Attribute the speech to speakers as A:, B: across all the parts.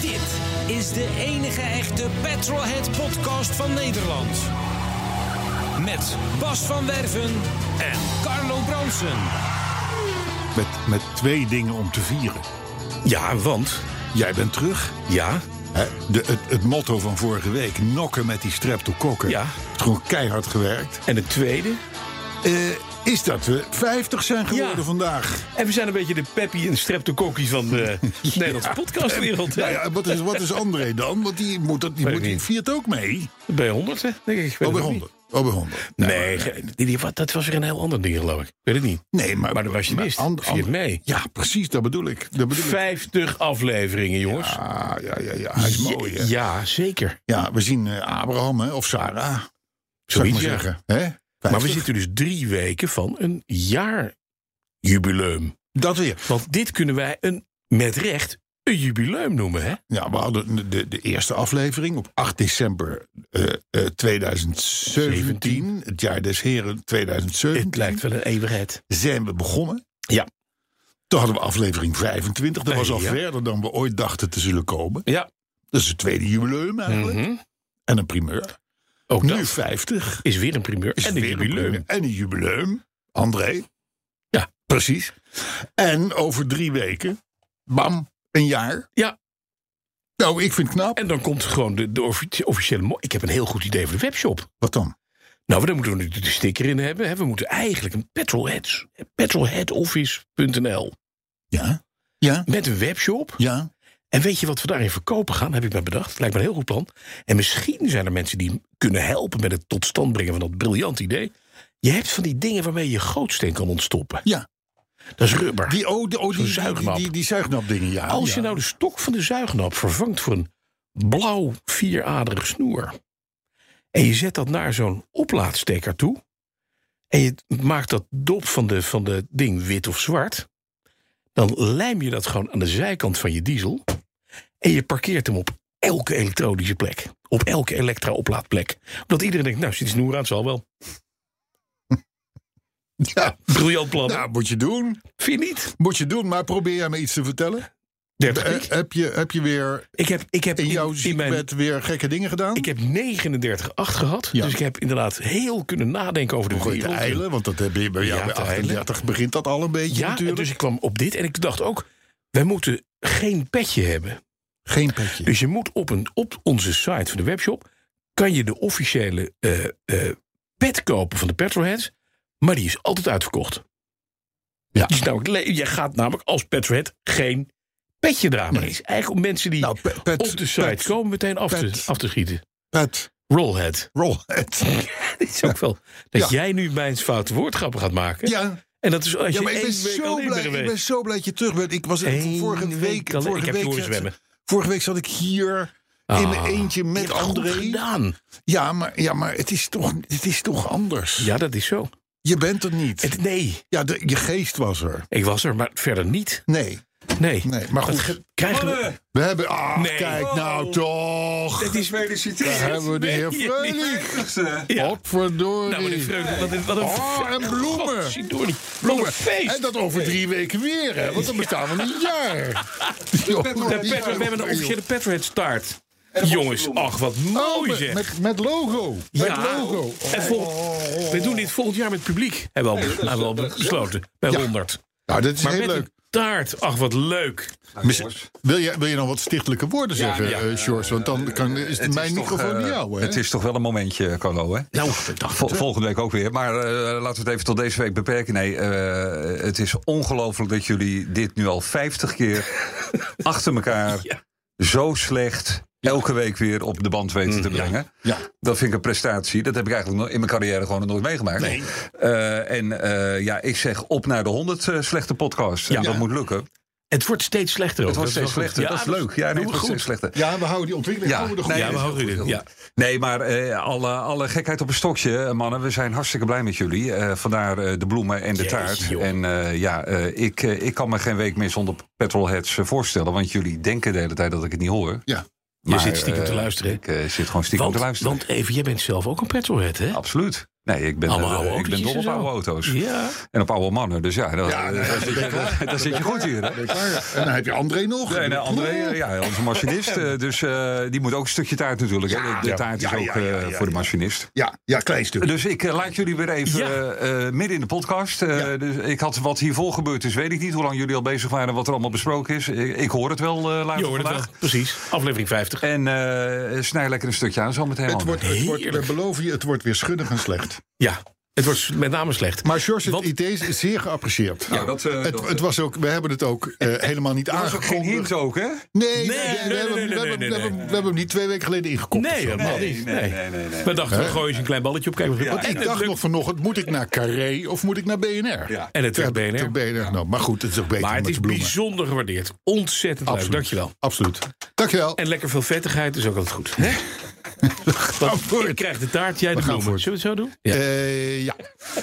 A: Dit is de enige echte Petrolhead podcast van Nederland. Met Bas van Werven en Carlo Bronsen.
B: Met, met twee dingen om te vieren.
C: Ja, want
B: Jij bent terug.
C: ja,
B: Hè, de, het, het motto van vorige week, nokken met die streptokokken.
C: Ja.
B: Is gewoon keihard gewerkt.
C: en het tweede.
B: Eh, is dat we 50 zijn geworden
C: Ja.
B: vandaag.
C: En we zijn een beetje de Peppy en Streptokokkie van de Nederlandse podcastwereld. hè?
B: Nou ja, wat is, wat is André dan? Want die, moet, dat, die,
C: eh, Weet ik
B: moet, die
C: niet.
B: viert ook mee.
C: Bij 100, hè, denk ik. Ik weet
B: Oh, bij
C: het niet.
B: 100. Oh, bij 100.
C: Nee, ge- die- die- wat- dat was weer een heel ander ding, geloof ik. Ik Weet het niet.
B: Nee, maar,
C: Maar dan was je mis.
B: And-
C: Viert
B: And-
C: mee.
B: Ja, precies, dat bedoel ik. Dat bedoel ik.
C: 50 afleveringen, jongens.
B: Ah, ja, ja, ja. Hij is mooi, hè?
C: Ja,
B: Ja,
C: ja, zeker.
B: we zien eh, Abraham hè, of Sarah, zou ik
C: Zoiets, ja.
B: maar zeggen. Hè?
C: Maar we
B: 50.
C: zitten dus drie weken van een jaarjubileum.
B: Dat weer.
C: Want dit kunnen wij een, met recht een jubileum noemen, hè?
B: Ja, we hadden de- de, de eerste aflevering op 8 december eh, eh, 2017. Het jaar des heren 2017.
C: Het lijkt wel een eeuwigheid.
B: Zijn we begonnen.
C: Ja.
B: Toen hadden we aflevering 25. Dat was al
C: Ja.
B: verder dan we ooit dachten te zullen komen.
C: Ja.
B: Dat is het tweede jubileum eigenlijk.
C: Mhm.
B: En een primeur.
C: Ook
B: Nu
C: dat
B: 50.
C: is weer een primeur.
B: Is
C: en
B: het
C: een
B: weer
C: jubileum.
B: primeur. En een jubileum. André.
C: Ja.
B: Precies. En over drie weken. Bam. Een jaar.
C: Ja.
B: Nou, ik vind het knap.
C: En dan komt gewoon de, de offici- officiële... mo- Ik heb een heel goed idee voor de webshop.
B: Wat dan?
C: Nou, daar moeten we natuurlijk de sticker in hebben. Hè. We moeten eigenlijk een petrolheads, petrolheadoffice.nl
B: Ja. Ja.
C: met een webshop.
B: Ja.
C: En weet je wat we daarin verkopen gaan? Heb ik mij bedacht. Lijkt me een heel goed plan. En misschien zijn er mensen die kunnen helpen met het tot stand brengen van dat briljant idee. Je hebt van die dingen waarmee je gootsteen kan ontstoppen.
B: Ja.
C: Dat is rubber.
B: Die, oh, de, oh,
C: Zo'n
B: die, die, die,
C: zuignap.
B: die, die zuignapdingen, ja.
C: Als je
B: Oh, ja.
C: nou de stok van de zuignap vervangt voor een blauw vieraderig snoer. En je zet dat naar zo'n oplaadsteker toe. En je maakt dat dop van de, van de ding wit of zwart. Dan lijm je dat gewoon aan de zijkant van je diesel. En je parkeert hem op elke elektronische plek. Op elke elektra-oplaadplek. Omdat iedereen denkt, nou, zit die snoer aan, het zal wel.
B: Ja,
C: Briljant plan.
B: nou, moet je doen.
C: Vind je niet?
B: Moet je doen, maar probeer jij me iets te vertellen.
C: 30
B: Eh,
C: piek.
B: heb, je, heb je weer
C: Ik heb, ik heb
B: in jouw
C: in mijn
B: ziekbed weer gekke dingen gedaan?
C: Ik heb 39,8 gehad.
B: Ja.
C: Dus ik heb inderdaad heel kunnen nadenken over de
B: Gooi de
C: wereld.
B: eilen, want dat heb je bij jou
C: Ja,
B: bij
C: de eilen.
B: 38 begint dat al een beetje
C: Ja,
B: natuurlijk.
C: dus ik kwam op dit en ik dacht ook... wij moeten geen petje hebben.
B: Geen petje.
C: Dus je moet op, een, op onze site van de webshop... kan je de officiële eh, eh, pet kopen van de Petrolheads... maar die is altijd uitverkocht.
B: Ja.
C: Die is namelijk le- je gaat namelijk als Petrolhead geen petje dragen. Maar
B: Nee.
C: het is eigenlijk om mensen die
B: nou, pe- pet,
C: op de site
B: pet,
C: komen... meteen af te,
B: pet.
C: af te schieten.
B: pet,
C: Rollhead.
B: rolhead.
C: Dit is ook wel dat
B: Ja.
C: jij nu mijn foute woordgrappen gaat maken.
B: Ja,
C: En dat is als
B: ja,
C: je
B: maar ik ben,
C: één week
B: zo
C: alleen
B: blij,
C: bent
B: ik
C: geweest.
B: ben zo blij dat je terug bent. Ik was
C: Eén
B: vorige week...
C: alleen- ik
B: Vorige
C: heb
B: week,
C: je horen
B: zat-
C: zwemmen.
B: vorige week zat ik hier in mijn
C: Ah,
B: eentje
C: je
B: met
C: hebt het goed
B: André.
C: gedaan.
B: Ja, maar, ja, maar het, is toch, het is toch anders.
C: Ja, dat is zo.
B: Je bent er niet.
C: Het, nee,
B: Ja, de, je geest was er.
C: ik was er, maar verder niet.
B: Nee,
C: Nee.
B: nee. Maar
C: Wat
B: goed,
C: ge- krijgen we...
B: we hebben... Ah,
C: Nee.
B: kijk nou toch.
C: Het is weer de
B: Daar hebben we de heer
C: Nee,
B: Freulich.
C: Ja. Nou, meneer
B: Potverdorie.
C: Vreugde, wat een... Wat een
B: Oh, en bloemen.
C: Godverdorie, Wat een
B: Bloemen.
C: feest.
B: En dat over drie weken weer, hè? Want dan bestaan we een jaar. Joh,
C: De
B: die
C: Petro-
B: zijn
C: we hebben
B: nog
C: een
B: heel-
C: officiële Petrohead staart. Jongens, ach, wat
B: Oh,
C: mooi
B: met,
C: zeg.
B: met, met logo. Met logo. Oh.
C: En volgend- we doen dit volgend jaar met publiek, hebben we al, hebben we al besloten. Bij 100.
B: Nou, dat is
C: Maar
B: heel
C: met
B: leuk.
C: een taart, ach wat leuk.
B: Mis- Wil je, wil je nog wat stichtelijke woorden zeggen, eh George? Want dan kan, is
D: Het
B: mijn
D: is toch,
B: microfoon
D: eh,
B: niet jou, hè?
D: Het is toch wel een momentje, Carlo, hè?
C: Nou,
D: Vol- volgende week ook weer. Maar eh, laten we het even tot deze week beperken. Nee, eh, het is ongelooflijk dat jullie dit nu al 50 keer achter elkaar
C: Ja.
D: zo slecht elke week weer op de band weten
C: Mm,
D: te brengen.
B: Ja.
D: Dat vind ik een prestatie. Dat heb ik eigenlijk nog in mijn carrière gewoon nog nooit meegemaakt. Eh, en eh, ja, ik zeg op naar de 100 eh, slechte podcast.
C: Ja.
D: En dat moet lukken.
C: Het wordt steeds slechter. ook,
D: Het wordt
C: dat
D: steeds
C: is wel goed. dus
D: slechter. dat is leuk. Ja, nee,
C: doen
D: het
C: we
D: wordt steeds
C: goed.
D: slechter.
B: Ja, we houden die ontwikkeling
D: Ja,
B: houden we er goed
D: nee,
B: in.
C: Ja, we houden jullie. Ja.
D: Nee, maar eh, alle, alle gekheid op een stokje, eh, mannen. We zijn hartstikke blij met jullie. Eh, vandaar eh, de bloemen en de
C: Jeetje,
D: taart.
C: joh.
D: En eh, ja, eh, ik, eh, ik kan me geen week meer zonder petrolheads eh, voorstellen. Want jullie denken de hele tijd dat ik het niet hoor.
B: Ja.
C: Je zit stiekem te luisteren, hè?
D: Ik eh, zit gewoon stiekem
C: Want,
D: te luisteren.
C: want even, jij bent zelf ook een petrolhead, hè?
D: Absoluut. Nee, ik ben,
C: Allemaal
D: eh,
C: oude
D: ik ben dol
C: autootjes
D: op
C: en zo.
D: oude auto's.
C: Ja.
D: En op oude mannen. Dus ja, dat,
B: Ja,
D: eh,
B: nee,
D: daar zit je- daar- daar zit je goed hier. hè?
B: Ben je klaar? En dan heb je André nog.
D: Nee, nee, André, eh, ja, onze machinist. eh, Dus eh, die moet ook een stukje taart natuurlijk. hè. De, de
B: Ja.
D: taart is
B: Ja,
D: ook
B: ja, ja,
D: eh,
B: ja,
D: voor de
B: ja.
D: machinist.
B: Ja, ja, klein stuk.
D: Dus ik eh, laat jullie weer even
C: Ja.
D: eh, eh, midden in de podcast. Eh,
B: Ja.
D: dus ik had wat hiervoor gebeurd is, weet ik niet hoe lang jullie al bezig waren en wat er allemaal besproken is. Ik, ik hoor het wel eh, later
C: Je hoort het
D: vandaag.
C: wel. Precies. Aflevering 50.
D: En eh, snij lekker een stukje aan zo meteen.
B: Het wordt, het wordt, we
C: Heerlijk.
B: beloven je, het wordt weer schuddig en slecht.
C: Ja. Het wordt met name slecht.
B: Maar George, het
C: Wat-
B: idee is is zeer geapprecieerd.
D: Ja, dat, eh,
B: het,
D: dat-
B: het was ook, we hebben het ook eh, helemaal niet
D: Dat is ook Ah, geen
B: aangekondigd.
D: hint ook, hè?
B: Nee, nee,
C: nee,
B: we
C: nee,
B: hebben-
C: nee,
B: we
C: nee,
B: hebben-
C: nee,
B: we
C: nee.
B: hebben we hebben hem niet twee weken geleden ingekopt.
C: Nee,
B: of zo.
C: helemaal
D: Nee,
C: niet.
D: nee,
C: Nee.
D: nee, nee, nee.
C: We dachten, we gooien eens een klein balletje op. Kijken of het lukt.
B: Want
C: En
B: ik
C: het
B: dacht
C: lukt.
B: nog vanochtend, moet ik naar Carré of moet ik naar BNR?
D: Ja.
C: En het werd
B: Ter-
C: BNR.
B: ter BNR. Nou, maar goed, het is ook beter
C: Maar het
B: met
C: is
B: bloemen.
C: bijzonder gewaardeerd. Ontzettend leuk.
B: Absoluut.
C: Dankjewel.
B: Absoluut. Dankjewel.
C: En lekker veel vettigheid is ook altijd goed. Hè? Want
B: voort.
C: ik krijg de taart, jij de
B: gaan
C: bloemen. Zullen
B: voort.
C: we het zo doen? Ja.
B: Eh, ja.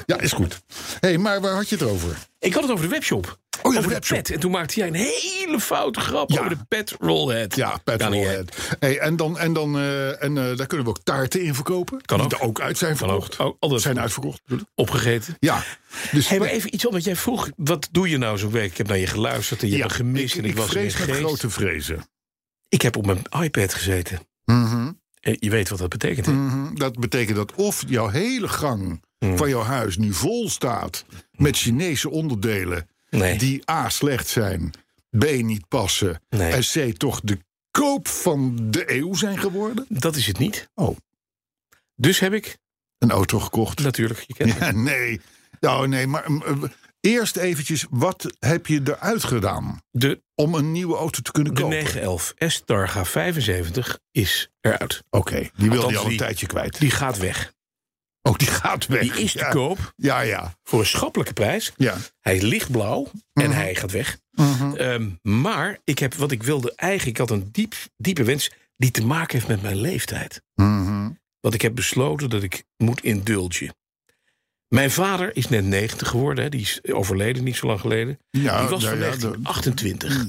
B: ja, is goed. Hé, hey, maar waar had je het over?
C: Ik had het over de webshop.
B: de
C: over Oh de,
B: webshop.
C: pet. En toen maakte jij een hele foute grap
B: Ja.
C: over de pet rollhead.
B: Ja,
C: Kan niet, hè?
B: Petrolhead. Hey, en dan, en, dan, eh, en eh, daar kunnen we ook taarten in verkopen.
C: Kan
B: die
C: ook.
B: er ook uit zijn
C: Kan
B: verkocht.
C: ook. Oh, altijd
B: zijn
C: goed.
B: uitverkocht. bedoel ik.
C: Opgegeten.
B: Ja. Dus
C: Hey, maar even iets omdat jij vroeg, wat doe je nou zo'n week? Ik heb naar je geluisterd en je
B: ja,
C: hebt me gemist
B: ik,
C: en ik,
B: ik
C: was
B: vrees
C: in je
B: met
C: geest.
B: grote vrezen.
C: Ik heb op mijn iPad gezeten.
B: Mhm,
C: Eh, Je weet wat dat betekent. hè?
B: mhm. Dat betekent dat of jouw hele gang
C: Mhm.
B: van jouw huis nu vol staat met Chinese onderdelen.
C: Nee.
B: die A slecht zijn, B niet passen
C: Nee.
B: en C toch de koop van de eeuw zijn geworden.
C: Dat is het niet.
B: Oh.
C: Dus heb ik,
B: Een auto gekocht.
C: natuurlijk, je kent
B: Ja, nee. Nou, nee, maar mm, eh, eerst eventjes, wat heb je eruit gedaan
C: de,
B: om een nieuwe auto te kunnen
C: de
B: kopen?
C: 911 S Targa 75 is eruit.
B: Oké, die wilde je
C: Althans,
B: al een
C: die-
B: tijdje kwijt.
C: Die gaat weg.
B: oh, die gaat weg.
C: Die is te
B: ja.
C: koop
B: Ja, ja,
C: voor een schappelijke prijs.
B: ja.
C: Hij is lichtblauw
B: Mhm.
C: en hij gaat weg. Ehm, maar ik heb wat ik wilde eigenlijk, ik had een diep, diepe wens die te maken heeft met mijn leeftijd.
B: Mhm.
C: Want ik heb besloten dat ik moet indulgen. Mijn vader is net 90 geworden, hè. die is overleden niet zo lang geleden.
B: Ja,
C: die was
B: nou
C: van
B: ja, Mm,
C: 1928.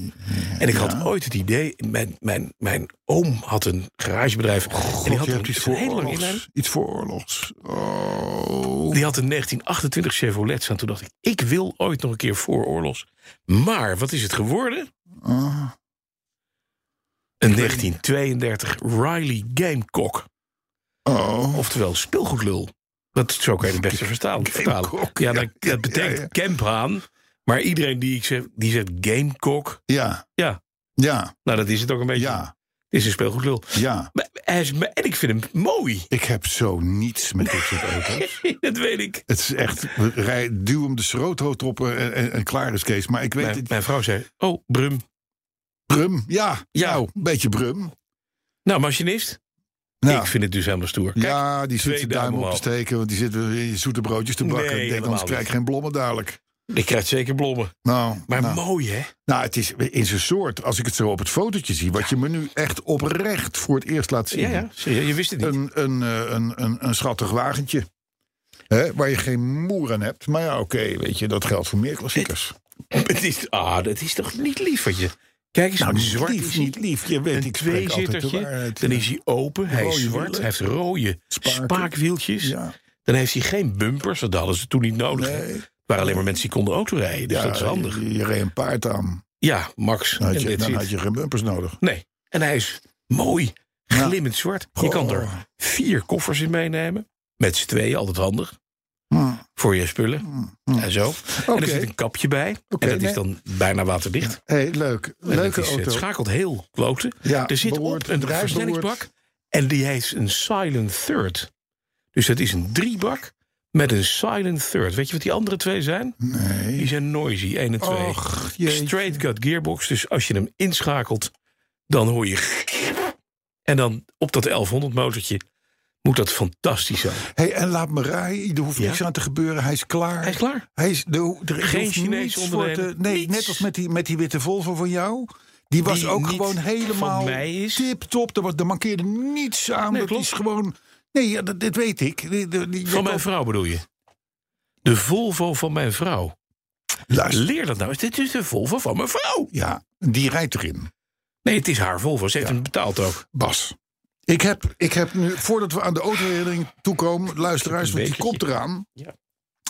C: en ik had ooit het idee, mijn, mijn, mijn oom had een garagebedrijf. en die
B: Oh, God,
C: had
B: je
C: een,
B: hebt iets
C: een
B: voor
C: hele lange inleiding.
B: oorlogs. Iets voor oorlogs. Oh.
C: Die had een 1928 Chevrolet staan. Toen dacht ik, ik wil ooit nog een keer vooroorlogs. Maar wat is het geworden?
B: Ah.
C: Een 1932 Riley Gamecock.
B: Oh.
C: Oftewel speelgoedlul. Dat, zo kan je het beste verstaan, vertalen.
B: Gamecock,
C: Ja,
B: ja,
C: dat, dat betekent
B: ja, ja.
C: campaan. Maar iedereen die ik zeg, die zegt Gamecock.
B: Ja.
C: Ja.
B: Ja,
C: Nou, dat is het ook een beetje.
B: ja,
C: Het is een speelgoedlul.
B: ja.
C: Maar hij is, maar- en ik vind hem mooi.
B: Ik heb zo niets met dit soort auto's.
C: dat weet ik.
B: Het is echt, rij, duw hem de schroothoot op en, en, en klaar is Kees. Maar ik weet
C: Mijn,
B: het,
C: mijn vrouw zei, oh, Brum.
B: brum, ja,
C: Ja.
B: nou, een beetje brum.
C: Nou, machinist.
B: Nou,
C: Ik vind het dus helemaal stoer. Kijk,
B: ja, die zit
C: twee
B: zijn
C: duimen
B: duim op te
C: omhoog.
B: steken, want die zit weer in je zoete broodjes te bakken.
C: Nee,
B: ik denk,
C: helemaal
B: anders krijg ik
C: niet.
B: geen blommen dadelijk.
C: ik krijg zeker blommen.
B: Nou,
C: Maar
B: nou,
C: mooi, hè?
B: nou, het is in zijn soort, als ik het zo op het fotootje zie, wat je me nu echt oprecht voor het eerst laat zien.
C: Ja, ja. serieus, Je wist het niet.
B: Een, een, eh, een, een, een schattig wagentje. Hè, waar je geen moer aan hebt. Maar ja, oké, weet je, dat geldt voor meer klassiekers.
C: Het is, ah, dat is toch niet lief wat je... Kijk eens, hoe
B: niet
C: zwart
B: Nou, lief,
C: is
B: niet lief. Je weet,
C: een
B: ik spreek altijd de
C: tweezittertje,
B: waarheid.
C: dan is hij open, hij is
B: Rode
C: zwart,
B: wielen.
C: hij heeft rode
B: Spaken.
C: spaakwieltjes.
B: Ja.
C: Dan heeft hij geen bumpers, Oh, dat hadden ze toen niet nodig. hè.
B: Nee.
C: Het waren alleen maar mensen die konden autorijden, dus dat is handig.
B: Je, je reed een paard aan.
C: Ja, Max,
B: Dan Nou, had,
C: en
B: je,
C: that's
B: dan
C: it.
B: had je geen bumpers nodig.
C: Nee, en hij is mooi,
B: Ja.
C: glimmend zwart. Je kan
B: Goh.
C: er vier koffers in meenemen, met z'n tweeën, altijd handig.
B: Hm.
C: Voor je spullen en zo. En
B: hmm, Oké.
C: er zit een kapje bij.
B: Oké,
C: en dat
B: nee.
C: is dan bijna waterdicht.
B: hey, leuk.
C: En
B: Leuke
C: het, is- eh, het
B: auto.
C: schakelt heel kloten.
B: Ja,
C: er zit
B: behoord,
C: op een
B: bedrijf
C: versnellingsbak.
B: behoord.
C: Ah, En die heeft een silent third. Dus dat is een driebak met een silent third. Weet je wat die andere twee zijn?
B: Nee.
C: Die zijn noisy, 1 en 2.
B: Och, jeetje.
C: Straight cut gearbox. Dus als je hem inschakelt, dan hoor je... En dan op dat 1100 motortje moet dat fantastisch zijn.
B: Hey, en laat me rijden, er hoeft niks aan te gebeuren. Hij is klaar.
C: Hij is klaar.
B: Hij is, er, ho- er
C: Geen
B: hoeft
C: Chinees
B: niets voor
C: onderdelen.
B: te- Nee,
C: Niets.
B: net als met die, met die witte Volvo van jou. Die was
C: Die
B: ook
C: niet
B: gewoon
C: van
B: helemaal
C: mij is.
B: tip-top. Er, was- er mankeerde niets aan.
C: Nee,
B: dat
C: klopt.
B: is gewoon... Nee, ja, dat, dit weet ik. Die- die- die-
C: Van mijn vrouw bedoel je? De Volvo van mijn vrouw.
B: Luister.
C: Leer dat nou eens. Dit is de Volvo van mijn vrouw.
B: Ja, die rijdt erin.
C: Nee, het is haar Volvo. Ze heeft hem betaald ook.
B: Bas. Ik heb, ik heb nu, voordat we aan de autoherinnering toekomen, luisteraars,
C: Een
B: want die
C: bekertje.
B: komt eraan.
C: Ja.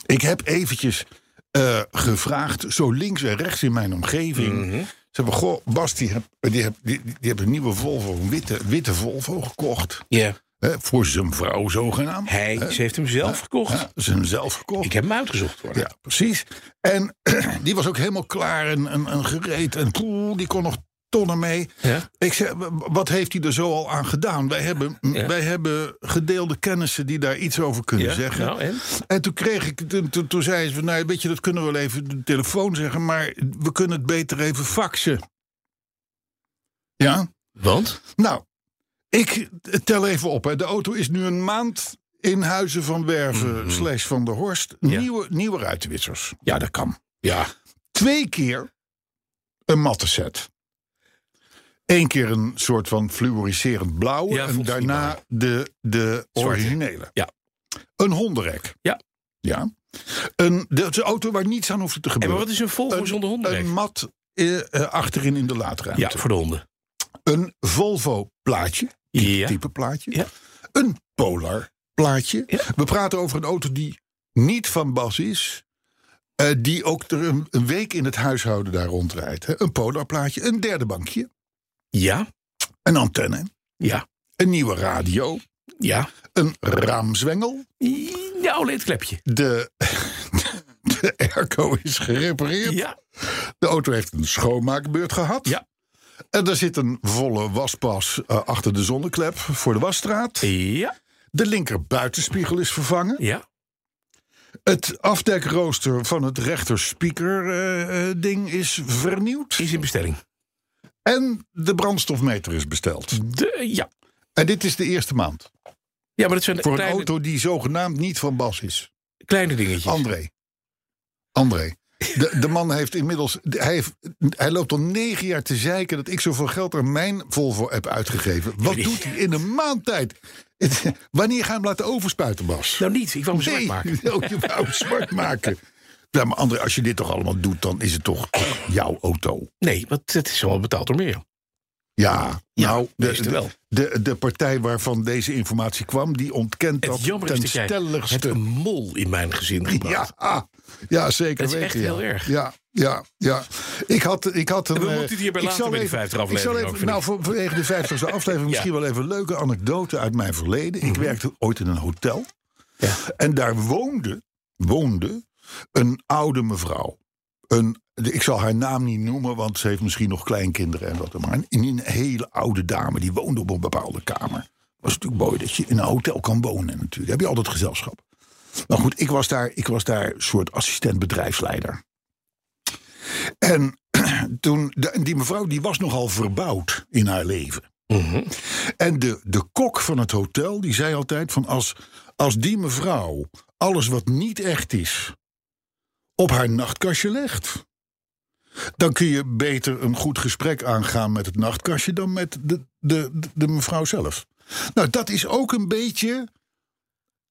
B: Ik heb eventjes eh, gevraagd, zo links en rechts in mijn omgeving.
C: Mm. Mm-hmm.
B: Ze hebben, goh, Bas, die heb- die heb- die- die heeft een nieuwe Volvo, een witte, witte Volvo gekocht.
C: Ja.
B: Hè, voor zijn vrouw zogenaamd.
C: Hij, ze heeft hem zelf gekocht.
B: Ja, ze hem zelf gekocht.
C: Ik heb hem uitgezocht. hoor.
B: eh, oh. Ja, precies. En die was ook helemaal klaar en, en, en gereed. En poeh, die kon nog tonnen mee.
C: Ja.
B: Ik zei, "Wa- wat heeft hij er zo al aan gedaan? Wij hebben, m,
C: Ja.
B: wij hebben gedeelde kennissen die daar iets over kunnen
C: Ja,
B: zeggen.
C: nou, en?
B: toen kreeg ik, toen, toen, toen zei ze, van, nou weet je, dat kunnen we wel even de telefoon zeggen, maar we kunnen het beter even faxen. Ja?
C: Want?
B: Nou, ik tel even op. Hè. De auto is nu een maand in Huizen van Werven slash Van der Horst.
C: Mhm. Ja.
B: Nieuwe, nieuwe ruitenwissers.
C: Ja, dat kan. Ja.
B: Twee keer een matte set. Eén keer een soort van fluoriserend blauw.
C: Ja,
B: en
C: vond ik
B: daarna de, de
C: Zwarte.
B: originele.
C: Ja.
B: Een hondenrek.
C: Ja.
B: ja. Een, dat is een auto waar niets aan hoeft te
C: En maar
B: gebeuren.
C: wat is een Volvo
B: een,
C: zonder hondenrek?
B: Een mat eh, eh, achterin in de laadruimte.
C: Ja, voor de honden.
B: Een Volvo plaatje.
C: Ja.
B: type plaatje.
C: Ja.
B: Een polar plaatje.
C: Ja.
B: We praten over een auto die niet van Bas is. eh, die ook er een, een week in het huishouden daar rondrijdt. hè. Een polar plaatje, een derde bankje,
C: Ja.
B: een antenne,
C: Ja.
B: een nieuwe radio,
C: Ja.
B: een raamzwengel.
C: Nou, leedklepje.
B: De, de airco is gerepareerd.
C: Ja.
B: De auto heeft een schoonmaakbeurt gehad.
C: Ja.
B: En er zit een volle waspas eh, achter de zonneklep voor de wasstraat.
C: Ja.
B: De linker buitenspiegel is vervangen.
C: Ja.
B: Het afdekrooster van het rechter speaker eh, eh, ding is vernieuwd.
C: Is in bestelling.
B: En de brandstofmeter is besteld.
C: De, ja.
B: En dit is de eerste maand.
C: Ja, maar dat zijn
B: Voor een
C: kleine,
B: auto die zogenaamd niet van Bas is.
C: kleine dingetjes.
B: André. André. De, de man heeft inmiddels. de- Hij, heeft, hij loopt al negen jaar te zeiken dat ik zoveel geld aan mijn Volvo heb uitgegeven. Wat doet hij in een maand tijd? Het- Wanneer gaan we hem laten overspuiten, Bas?
C: Nou, niet. Ik wou hem zwart
B: Nee,
C: maken.
B: oh, je wou hem zwart maken. Ja, maar André, als je dit toch allemaal doet, dan is het toch jouw auto.
C: Nee, want het is allemaal betaald door meer.
B: Ja,
C: Ja,
B: nou,
C: meestal wel.
B: De, de partij waarvan deze informatie kwam, die ontkent
C: Het
B: dat
C: jammer is
B: ten
C: dat jij hebt
B: stelligste.
C: een mol in mijn gezin gebracht.
B: Ja, ah, ja, zeker
C: Dat is
B: weten.
C: echt
B: ja.
C: heel erg.
B: Ja, ja, ja. Ik had, ik had een...
C: we
B: eh,
C: moeten het hierbij
B: ik
C: laten
B: zal
C: bij de
B: even-
C: 50e
B: Ik zal
C: aflevering
B: even,
C: ook, vind
B: nou,
C: ik.
B: voor- vanwege de 50 aflevering misschien wel even een leuke anekdote uit mijn verleden. Ik werkte ooit in een hotel.
C: Mhm. Ja.
B: En daar woonde, woonde een oude mevrouw. Een, ik zal haar naam niet noemen, want ze heeft misschien nog kleinkinderen en wat dan maar. Een, een hele oude dame, die woonde op een bepaalde kamer. Was natuurlijk mooi dat je in een hotel kan wonen natuurlijk. Dan heb je altijd gezelschap. Maar goed, ik was daar, ik was daar soort assistent bedrijfsleider. En toen, de- die mevrouw die was nogal verbouwd in haar leven.
C: Mhm.
B: En de, de kok van het hotel die zei altijd van als, als die mevrouw alles wat niet echt is op haar nachtkastje legt. Dan kun je beter een goed gesprek aangaan met het nachtkastje dan met de, de, de, de mevrouw zelf. Nou, dat is ook een beetje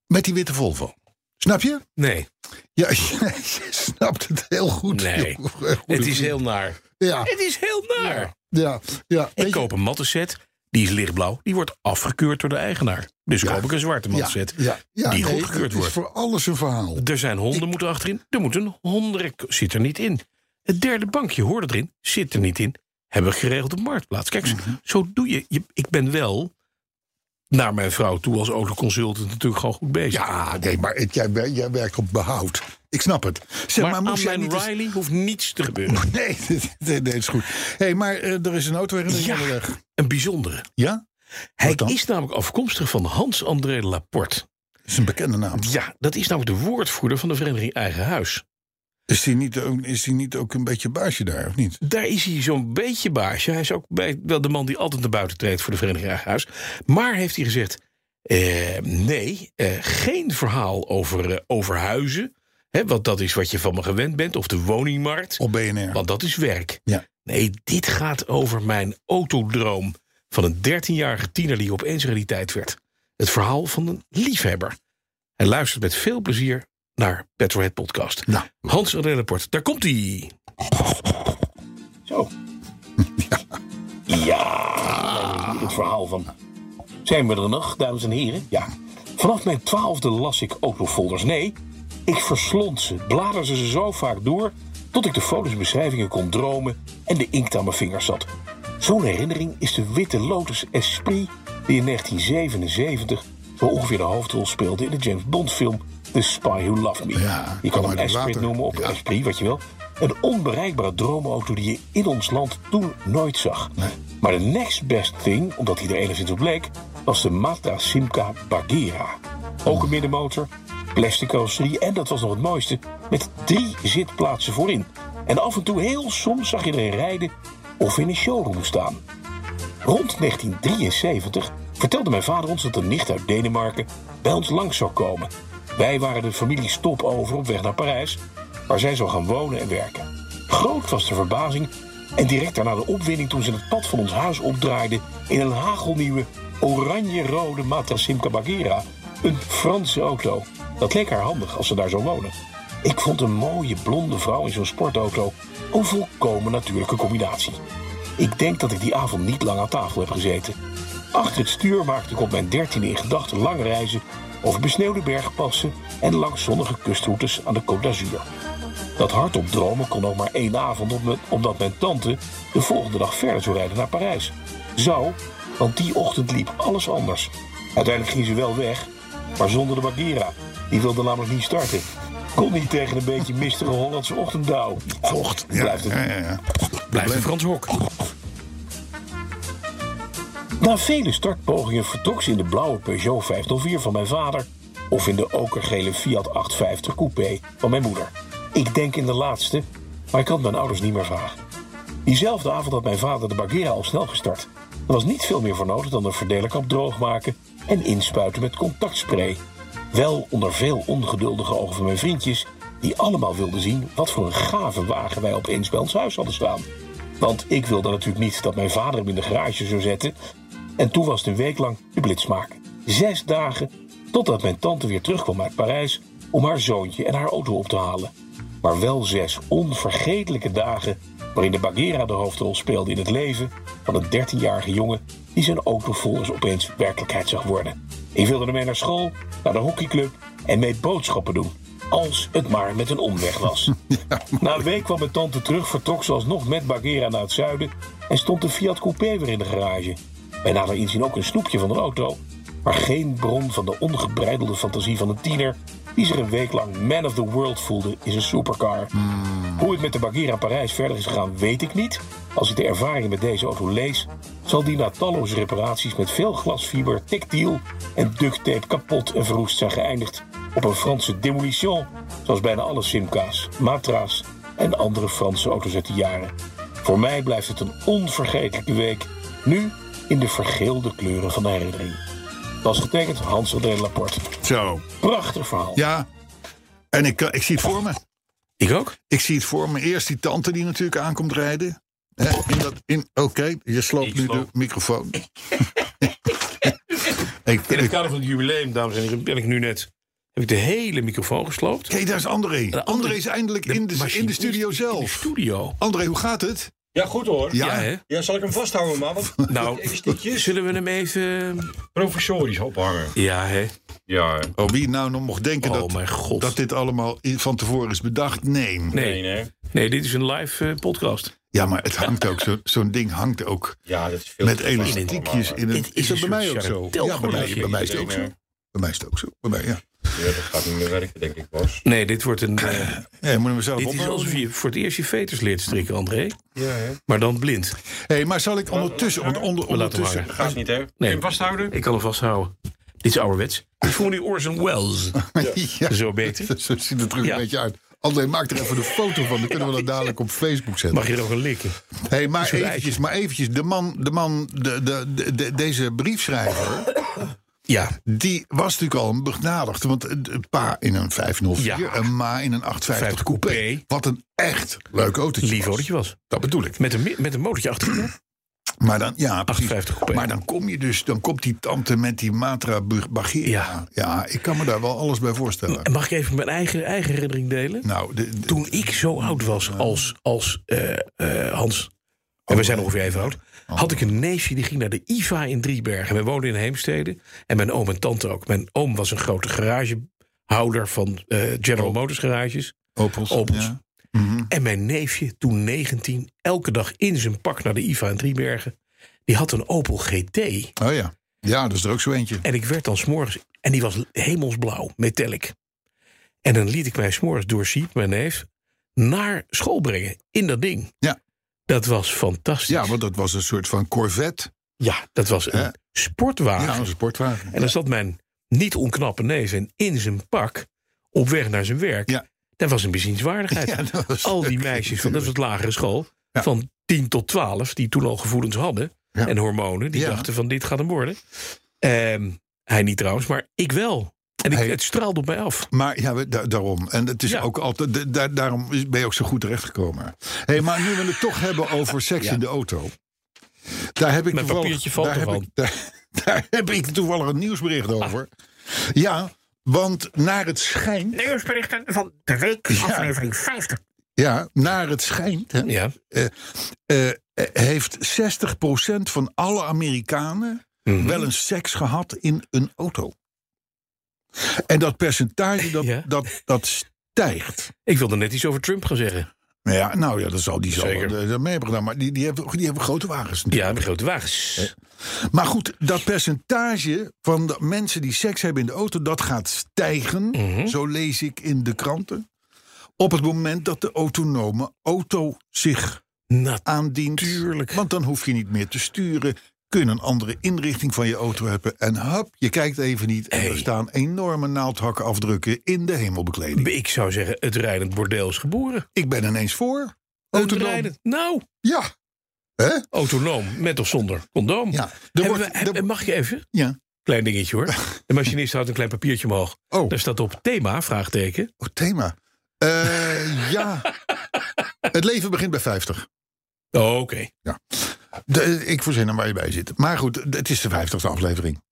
B: met die witte Volvo. Snap je?
C: Nee,
B: Ja, je snapt het heel goed.
C: Nee.
B: jongen. Goede
C: het is
B: vriend.
C: heel naar.
B: Ja,
C: Het is heel naar.
B: ja, ja.
C: Ik
B: Weet je-
C: koop een mattenset, die is lichtblauw. Die wordt afgekeurd door de eigenaar. Dus
B: Ja.
C: koop ik een zwarte
B: ja,
C: mattenset.
B: ja, ja,
C: die
B: nee,
C: goedgekeurd
B: het
C: wordt.
B: is voor alles een verhaal.
C: Er zijn honden moeten achterin. Er moet een hondenrek. Zit er niet in. Het derde bankje hoorde erin. Zit er niet in. Hebben we geregeld op marktplaats. Kijk, zo-
B: Mhm.
C: zo doe je. je. Ik ben wel naar mijn vrouw toe als autoconsultant natuurlijk gewoon goed bezig.
B: Ja, nee, maar het- jij, wer- jij werkt op behoud. Ik snap het. Zeg,
C: maar,
B: maar,
C: aan
B: moest jij
C: mijn
B: niet eens-
C: Riley hoeft niets te gebeuren.
B: Nee, nee, nee, is goed. Hé, hey, maar eh, er is een auto weer
C: Ja.
B: onderweg.
C: Een bijzondere.
B: Ja?
C: Hij
B: Wat dan?
C: is namelijk afkomstig van Hans-André Laporte.
B: Dat is een bekende naam.
C: Ja, dat is namelijk de woordvoerder van de vereniging Eigen Huis.
B: Is die niet, ook- is die niet ook een beetje baasje daar, of niet?
C: Daar is hij zo'n beetje baasje. Hij is ook bij, wel de man die altijd naar buiten treedt voor de Vereniging Eigen Huis. Maar heeft hij gezegd:
E: Eh, nee, eh, geen verhaal over, eh, over huizen. Hè, want dat is wat je van me gewend bent. Of de woningmarkt.
B: Op BNR.
E: Want dat is werk.
B: Ja.
E: Nee, dit gaat over mijn autodroom van een 13-jarige tiener die opeens realiteit werd. Het verhaal van een liefhebber. Hij luistert met veel plezier naar Petrohead Podcast.
B: Nou.
E: Hans Relleport, daar komt hij.
C: Zo. Ja. nou, Het verhaal van. Zijn we er nog, dames en heren? Ja. Vanaf mijn twaalfde las ik autofolders. Nee, ik verslond ze, bladerde ze zo vaak door... tot ik de foto's en beschrijvingen kon dromen en de inkt aan mijn vingers zat. Zo'n herinnering is de witte Lotus Esprit... die in 1977 zo ongeveer de hoofdrol speelde in de James Bond film... The Spy Who Loved Me.
B: Ja,
C: Je
B: kwam
C: kan hem
B: uit het
C: Esprit
B: water.
C: noemen op
B: Ja.
C: Esprit, wat je wil. Een onbereikbare droomauto die je in ons land toen nooit zag. Maar de next best thing, omdat hij er enigszins op leek, was de Mazda Simca Bagheera. Ook een middenmotor, plastic carrosserie en dat was nog het mooiste, met drie zitplaatsen voorin. En af en toe heel soms zag je erin rijden of in een showroom staan. Rond 1973 vertelde mijn vader ons dat een nicht uit Denemarken bij ons langs zou komen. Wij waren de familie Stop over op weg naar Parijs, waar zij zou gaan wonen en werken. Groot was de verbazing en direct daarna de opwinding toen ze het pad van ons huis opdraaiden in een hagelnieuwe oranje-rode Mata Simca Bagheera, een Franse auto. Dat leek haar handig als ze daar zou wonen. Ik vond een mooie blonde vrouw in zo'n sportauto een volkomen natuurlijke combinatie. Ik denk dat ik die avond niet lang aan tafel heb gezeten. Achter het stuur maakte ik op mijn dertiende in gedachten lange reizen over besneeuwde bergpassen en langs zonnige kustroutes aan de Côte d'Azur. Dat hardop dromen kon ook maar één avond, om- omdat mijn tante de volgende dag verder zou rijden naar Parijs. Zou, want die ochtend liep alles anders. Uiteindelijk ging ze wel weg, maar zonder de Bagheera. Die wilde namelijk niet starten. Kon niet tegen een beetje mistige Hollandse ochtenddauw. Vocht,
B: ja,
C: blijft het
B: ja, ja, ja.
E: Blijft een Frans Hok.
C: Na vele startpogingen vertrok ze in de blauwe Peugeot 504 van mijn vader... of in de okergele Fiat 850 Coupé van mijn moeder. Ik denk in de laatste, maar ik had mijn ouders niet meer vragen. Diezelfde avond had mijn vader de Bagheera al snel gestart. Er was niet veel meer voor nodig dan een verdelerkap droogmaken... en inspuiten met contactspray. Wel onder veel ongeduldige ogen van mijn vriendjes... die allemaal wilden zien wat voor een gave wagen wij opeens bij ons huis hadden staan. Want ik wilde natuurlijk niet dat mijn vader hem in de garage zou zetten... En toen was het een week lang de blitsmaak. Zes dagen totdat mijn tante weer terugkwam uit Parijs om haar zoontje en haar auto op te halen. Maar wel zes onvergetelijke dagen waarin de Bagheera de hoofdrol speelde in het leven van een 13-jarige jongen die zijn auto volgens opeens werkelijkheid zag worden. Ik wilde ermee naar school, naar de hockeyclub en mee boodschappen doen. Als het maar met een omweg was. Na een week kwam mijn tante terug, vertrok ze alsnog met Bagheera naar het zuiden en stond de Fiat Coupé weer in de garage. Wij nader inzien ook een snoepje van een auto, maar geen bron van de ongebreidelde fantasie van een tiener die zich een week lang man of the world voelde in zijn supercar. Hoe het met de Bagheera in Parijs verder is gegaan, weet ik niet. Als ik de ervaringen met deze auto lees, zal die na talloze reparaties met veel glasfiber, tactiel en duct tape kapot en verroest zijn geëindigd op een Franse demolition, zoals bijna alle Simca's, Matra's en andere Franse auto's uit de jaren. Voor mij blijft het een onvergetelijke week, nu in de vergeelde kleuren van de herinnering. Dat is getekend Hans Adrien Laporte.
B: Zo.
C: Prachtig verhaal.
B: Ja. En ik, eh, ik zie het voor me.
E: Ik ook?
B: Ik zie het voor me. Eerst die tante die natuurlijk aankomt rijden. Hè, in dat, in, Oké, je sloopt nu de microfoon. ik,
E: In het
B: ik,
E: kader van het jubileum, dames en heren, ben ik nu net... heb ik de hele microfoon gesloopt.
B: Hé, daar is André. André is eindelijk in de, in de
E: machinist
B: studio
E: In de
B: zelf.
E: studio.
B: André, hoe gaat het?
F: Ja, goed hoor. Ja,
B: Ja,
E: Ja, hè?
F: zal ik hem vasthouden, man? Want
E: Nou,
F: even stukjes.
E: zullen we hem even...
F: Professorisch ophangen.
E: Ja, hè?
F: Ja,
B: Oh, wie nou nog mocht denken
E: Oh,
B: dat,
E: mijn god.
B: dat dit allemaal i- van tevoren is bedacht? Nee.
F: nee,
E: Nee,
F: nee.
E: nee, dit is een live eh, podcast.
B: Ja, maar het hangt ook, zo- zo'n ding hangt ook
F: Ja, dat is veel
B: met
F: te vast
B: elastiekjes
F: allemaal,
B: in het.
E: Dit is een soort chartel-
B: Ja, bij mij, bij mij is het ook zo.
F: Nee, nee.
B: Bij mij is het ook zo. Bij mij, ja.
F: hè. Ja, dat gaat niet meer werken, denk ik, Bas.
E: Nee, dit wordt een... eh,
B: Ja, je moet hem zelf
E: dit is
B: ophouden.
E: alsof je voor het eerst je veters leert strikken, André.
F: Ja, hè.
E: Maar dan blind.
B: hey, maar zal ik ondertussen... Onder, onder,
E: We laten hem
B: ondertussen
E: hangen.
F: Gaat niet, hè? Kun je hem vasthouden?
E: Ik kan hem vasthouden. Dit is ouderwets. Ik voel nu Orson Welles.
B: ja,
E: Zo beter.
B: zo ziet het er een
E: Ja.
B: beetje uit. André, maak er even de foto van. Dan kunnen we dat dadelijk op Facebook zetten.
E: Mag je er ook een likken?
B: Hey, maar,
E: Zo'n
B: eventjes, maar eventjes, de man, de man de, de, de- de- deze briefschrijver...
E: Ja,
B: Die was natuurlijk al een begnadigde. Want een pa in een 504
E: Ja.
B: en ma in een 850 coupé.
E: coupé.
B: Wat een echt leuk autootje
E: lief
B: was.
E: autootje was.
B: Dat bedoel ik.
E: Met een, mi- met een motortje achter.
B: Maar dan, ja, precies.
E: 58 coupé.
B: Maar dan kom je dus, dan komt die tante met die Matra Bug- Bagheera. Ja.
E: Ja.
B: ik kan me daar wel alles bij voorstellen.
E: En mag ik even mijn eigen, eigen herinnering delen?
B: Nou, de, de-
E: Toen ik zo oud was als, als eh, eh, Hans, en we zijn ongeveer even oud, had ik een neefje die ging naar de IVA in Driebergen. Wij woonden in Heemstede en mijn oom en tante ook. Mijn oom was een grote garagehouder van eh, General Motors garages.
B: Opels.
E: Opels.
B: Ja. Mhm.
E: En mijn neefje, toen 19, elke dag in zijn pak naar de IVA in Driebergen. Die had een Opel GT.
B: Oh ja. Ja, dat is er ook zo eentje.
E: En ik werd dan s'morgens... En die was hemelsblauw, metallic. En dan liet ik mij s'morgens door Siep, mijn neef... naar school brengen, in dat ding.
B: Ja.
E: Dat was fantastisch.
B: Ja, want dat was een soort van Corvette.
E: Ja, dat was een
B: Ja.
E: Ah, sportwagen.
B: Ja, een sportwagen.
E: En dan zat mijn niet onknappe neef en in zijn pak... op weg naar zijn werk.
B: Ja.
E: Dat was een bezienswaardigheid.
B: Ja, dat was
E: Al die
B: leuk,
E: meisjes van, dat
B: natuurlijk.
E: was het lagere school...
B: Ja.
E: van 10 tot 12, die toen al gevoelens hadden...
B: Ja.
E: en hormonen, die
B: Ja.
E: dachten van dit gaat hem worden. Ehm, hij niet trouwens, maar ik wel. En ik,
B: Hij-
E: het straalde op mij af.
B: Maar ja, we- da- daarom. En het is
E: Ja.
B: ook altijd, da- da- daarom is- ben je ook zo goed terechtgekomen. hey, maar nu we het toch hebben over seks in de auto. Daar heb ik
E: Mijn
B: toevallig,
E: papiertje valt Ah.
B: daar, heb
E: ervan.
B: ik, daar, daar heb ik toevallig een nieuwsbericht over. Ja, want naar het schijnt.
G: nieuwsberichten van de week, aflevering 50.
B: Ja, naar het schijnt. Hè,
E: Ja.
B: eh, eh, heeft 60% van alle Amerikanen
E: Mhm.
B: wel eens seks gehad in een auto. En dat percentage dat,
E: Ja.
B: dat, dat stijgt.
E: Ik wilde net iets over Trump gaan zeggen.
B: Nou Ja, nou ja, dat zal die zo
E: Zeker.
B: eh, mee hebben gedaan. Maar die, die, hebben, die hebben grote wagens.
E: Ja, de grote
B: Eh.
E: wagens.
B: Maar goed, dat percentage van de mensen die seks hebben in de auto... dat gaat stijgen,
E: Mhm.
B: zo lees ik in de kranten... op het moment dat de autonome auto zich aandient.
E: Natuurlijk.
B: Want dan hoef je niet meer te sturen... kun een andere inrichting van je auto hebben... en hap, je kijkt even niet... en er
E: Hey.
B: staan enorme naaldhakkenafdrukken in de hemelbekleding.
E: Ik zou zeggen, het rijdend bordeel is geboren.
B: Ik ben ineens voor.
E: Het
B: Autonoom.
E: rijdend- Nou,
B: Ja. Hè?
E: autonoom, met of zonder condoom.
B: Ja, er
E: Hebben
B: wordt-
E: we- heb-
B: er-
E: mag je even?
B: Ja.
E: Klein dingetje hoor. De machinist houdt een klein papiertje omhoog.
B: Oh.
E: Daar staat op thema, vraagteken.
B: Oh, thema. Eh, ja. Het leven begint bij 50.
E: Oh, Oké.
B: De- eh, ik verzin hem waar je bij zit. Maar goed, het is de 50ste aflevering.